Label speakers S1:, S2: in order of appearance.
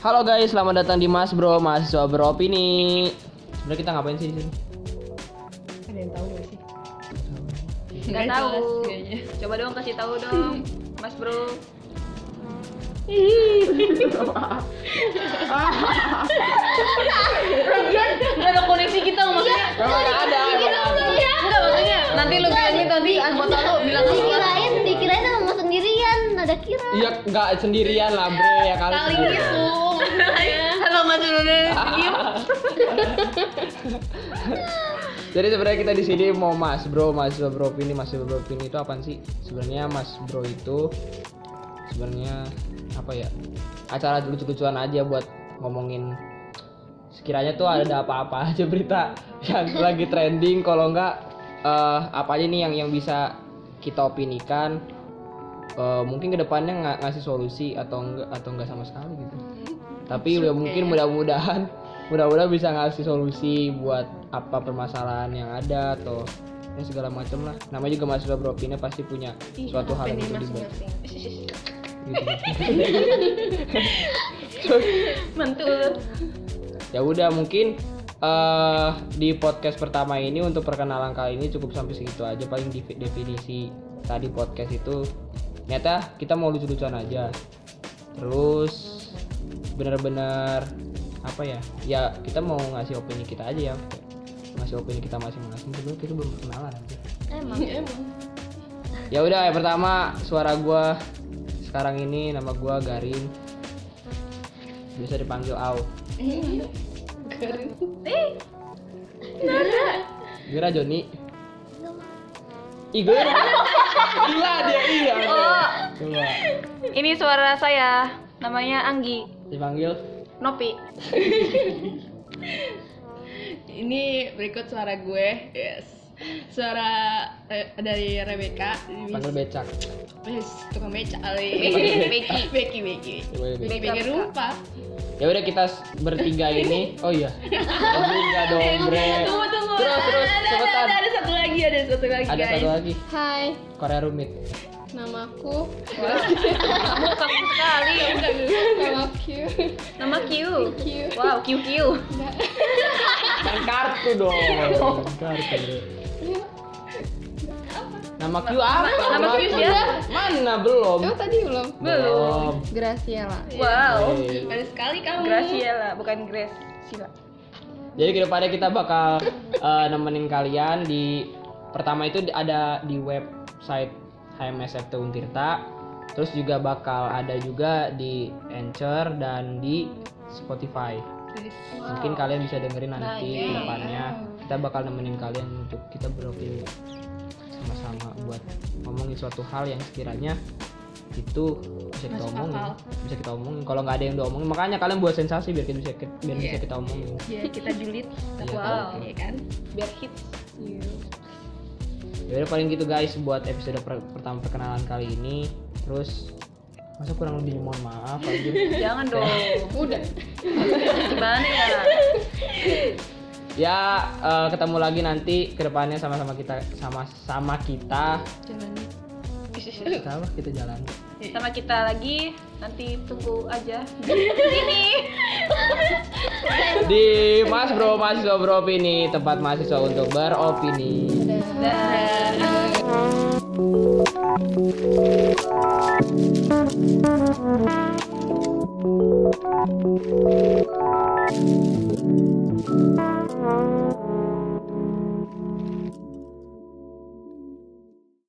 S1: Halo guys, selamat datang di Mas Bro, mahasiswa beropini. Sebenarnya kita ngapain sih di sini?
S2: Ada yang tahu gak sih?
S3: Nggak
S2: Nggak
S3: tahu.
S2: jelas kayaknya.
S3: Coba dong kasih tahu dong, Mas Bro.
S2: Gak ada koneksi kita maksudnya.
S1: Memang nggak ada.
S4: Iya,
S2: Enggak maksudnya. Nanti lu bilangin nanti anggota lu bilang gitu. sama gua.
S4: dikirain dikirain emang mau sendirian ada kira
S1: Iya, nggak sendirian lah Bre ya kalau
S2: Saling
S1: sendirian.
S2: gitu. maksudnya. Halo Mas Rune.
S3: Iya,
S1: Jadi sebenarnya kita di sini mau Mas Bro, mahasiswa beropini, mahasiswa beropini itu apaan sih? Sebenarnya Mas Bro itu sebenarnya apa ya? Acara lucu-lucuan aja buat ngomongin sekiranya tuh ada apa-apa aja berita yang lagi trending kalau enggak eh, apa aja nih yang yang bisa kita opinikan Eh, mungkin kedepannya nggak ngasih solusi atau enggak atau enggak sama sekali gitu tapi udah mungkin mudah-mudahan mudah-mudahan bisa ngasih solusi buat apa permasalahan yang ada atau ya segala macam lah namanya juga mahasiswa beropini pasti punya suatu hal yang bisa dibuat gitu.
S3: Mantul.
S1: ya udah mungkin eh di podcast pertama ini untuk perkenalan kali ini cukup sampai segitu aja paling defi- definisi tadi podcast itu ternyata kita mau lucu-lucuan aja terus bener-bener apa ya ya kita mau ngasih opini kita aja ya ngasih opini kita masing-masing sebelum kita belum kenalan aja
S4: emang
S1: ya udah yang pertama suara gua sekarang ini nama gua Garin bisa dipanggil Au Garin eh Gera Joni Ih Gera Gila dia iya
S3: Oh.
S1: Coba
S3: Ini suara saya, namanya Anggi.
S1: dipanggil
S3: Nopi.
S2: Ini berikut suara gue. Yes. Suara eh, dari Rebecca.
S1: panggil Becak
S2: Yes, tukang beca Ali.
S3: Becky.
S2: Becky, Becky.
S1: Coba dia.
S2: Becky, Becky rumpa.
S1: Ya udah kita s- bertiga ini Oh iya Bertiga dong bre
S2: Eh, Tunggu, tunggu.
S1: Terus terus
S2: Ada, ada,
S1: cepetan
S2: ada, ada satu lagi, ada satu lagi,
S1: Ada
S2: guys.
S1: satu lagi
S4: hai
S1: Korea rumit
S4: namaku
S3: Kamu kaku sekali.
S4: nama Q
S3: Nama Q.
S4: Q
S3: Wow, QQ.
S1: Main kartu dong. Main kartu. deh. Nama Q apa?
S3: Nama Q siapa?
S1: Mana belum?
S4: oh tadi belum
S1: Belum.
S4: Graciela
S3: Wow.
S1: Oke.
S2: Baru sekali kamu.
S3: Graciela, bukan Grace. Sila.
S1: Jadi kedepannya kita bakal eh, nemenin kalian di pertama itu di- ada di website HMSFT Untirta, terus juga bakal ada juga di Anchor dan di Spotify. Mungkin kalian bisa dengerin
S2: Nah,
S1: nanti
S2: iya.
S3: Nice.
S1: kedepannya. Kita bakal nemenin kalian untuk kita beropini sama-sama buat ngomongin suatu hal yang sekiranya itu bisa kita
S2: Masuk
S1: omongin,
S2: akal.
S1: bisa kita omongin. Kalau nggak ada yang diomongin, makanya kalian buat sensasi biar kita bisa biar bisa
S2: Iya.
S1: kita omongin.
S2: Ya, kita julid. Wow.
S1: Iya, oke.
S2: Iya kan?
S3: Biar hits.
S1: Ya udah paling gitu guys buat episode per- pertama perkenalan kali ini. Terus masa kurang lebih mohon maaf anjir.
S3: Jangan dong.
S4: udah
S3: Gimana ya?
S1: ya eh, ketemu lagi nanti kedepannya sama-sama kita sama-sama kita
S2: Jalannya.
S1: kita apa? kita jalan.
S3: Sama kita lagi, nanti tunggu aja. Ini.
S1: Di Mas Bro Mahasiswa Bro Opini, tempat mahasiswa untuk beropini.
S3: Dah.
S4: Dadah.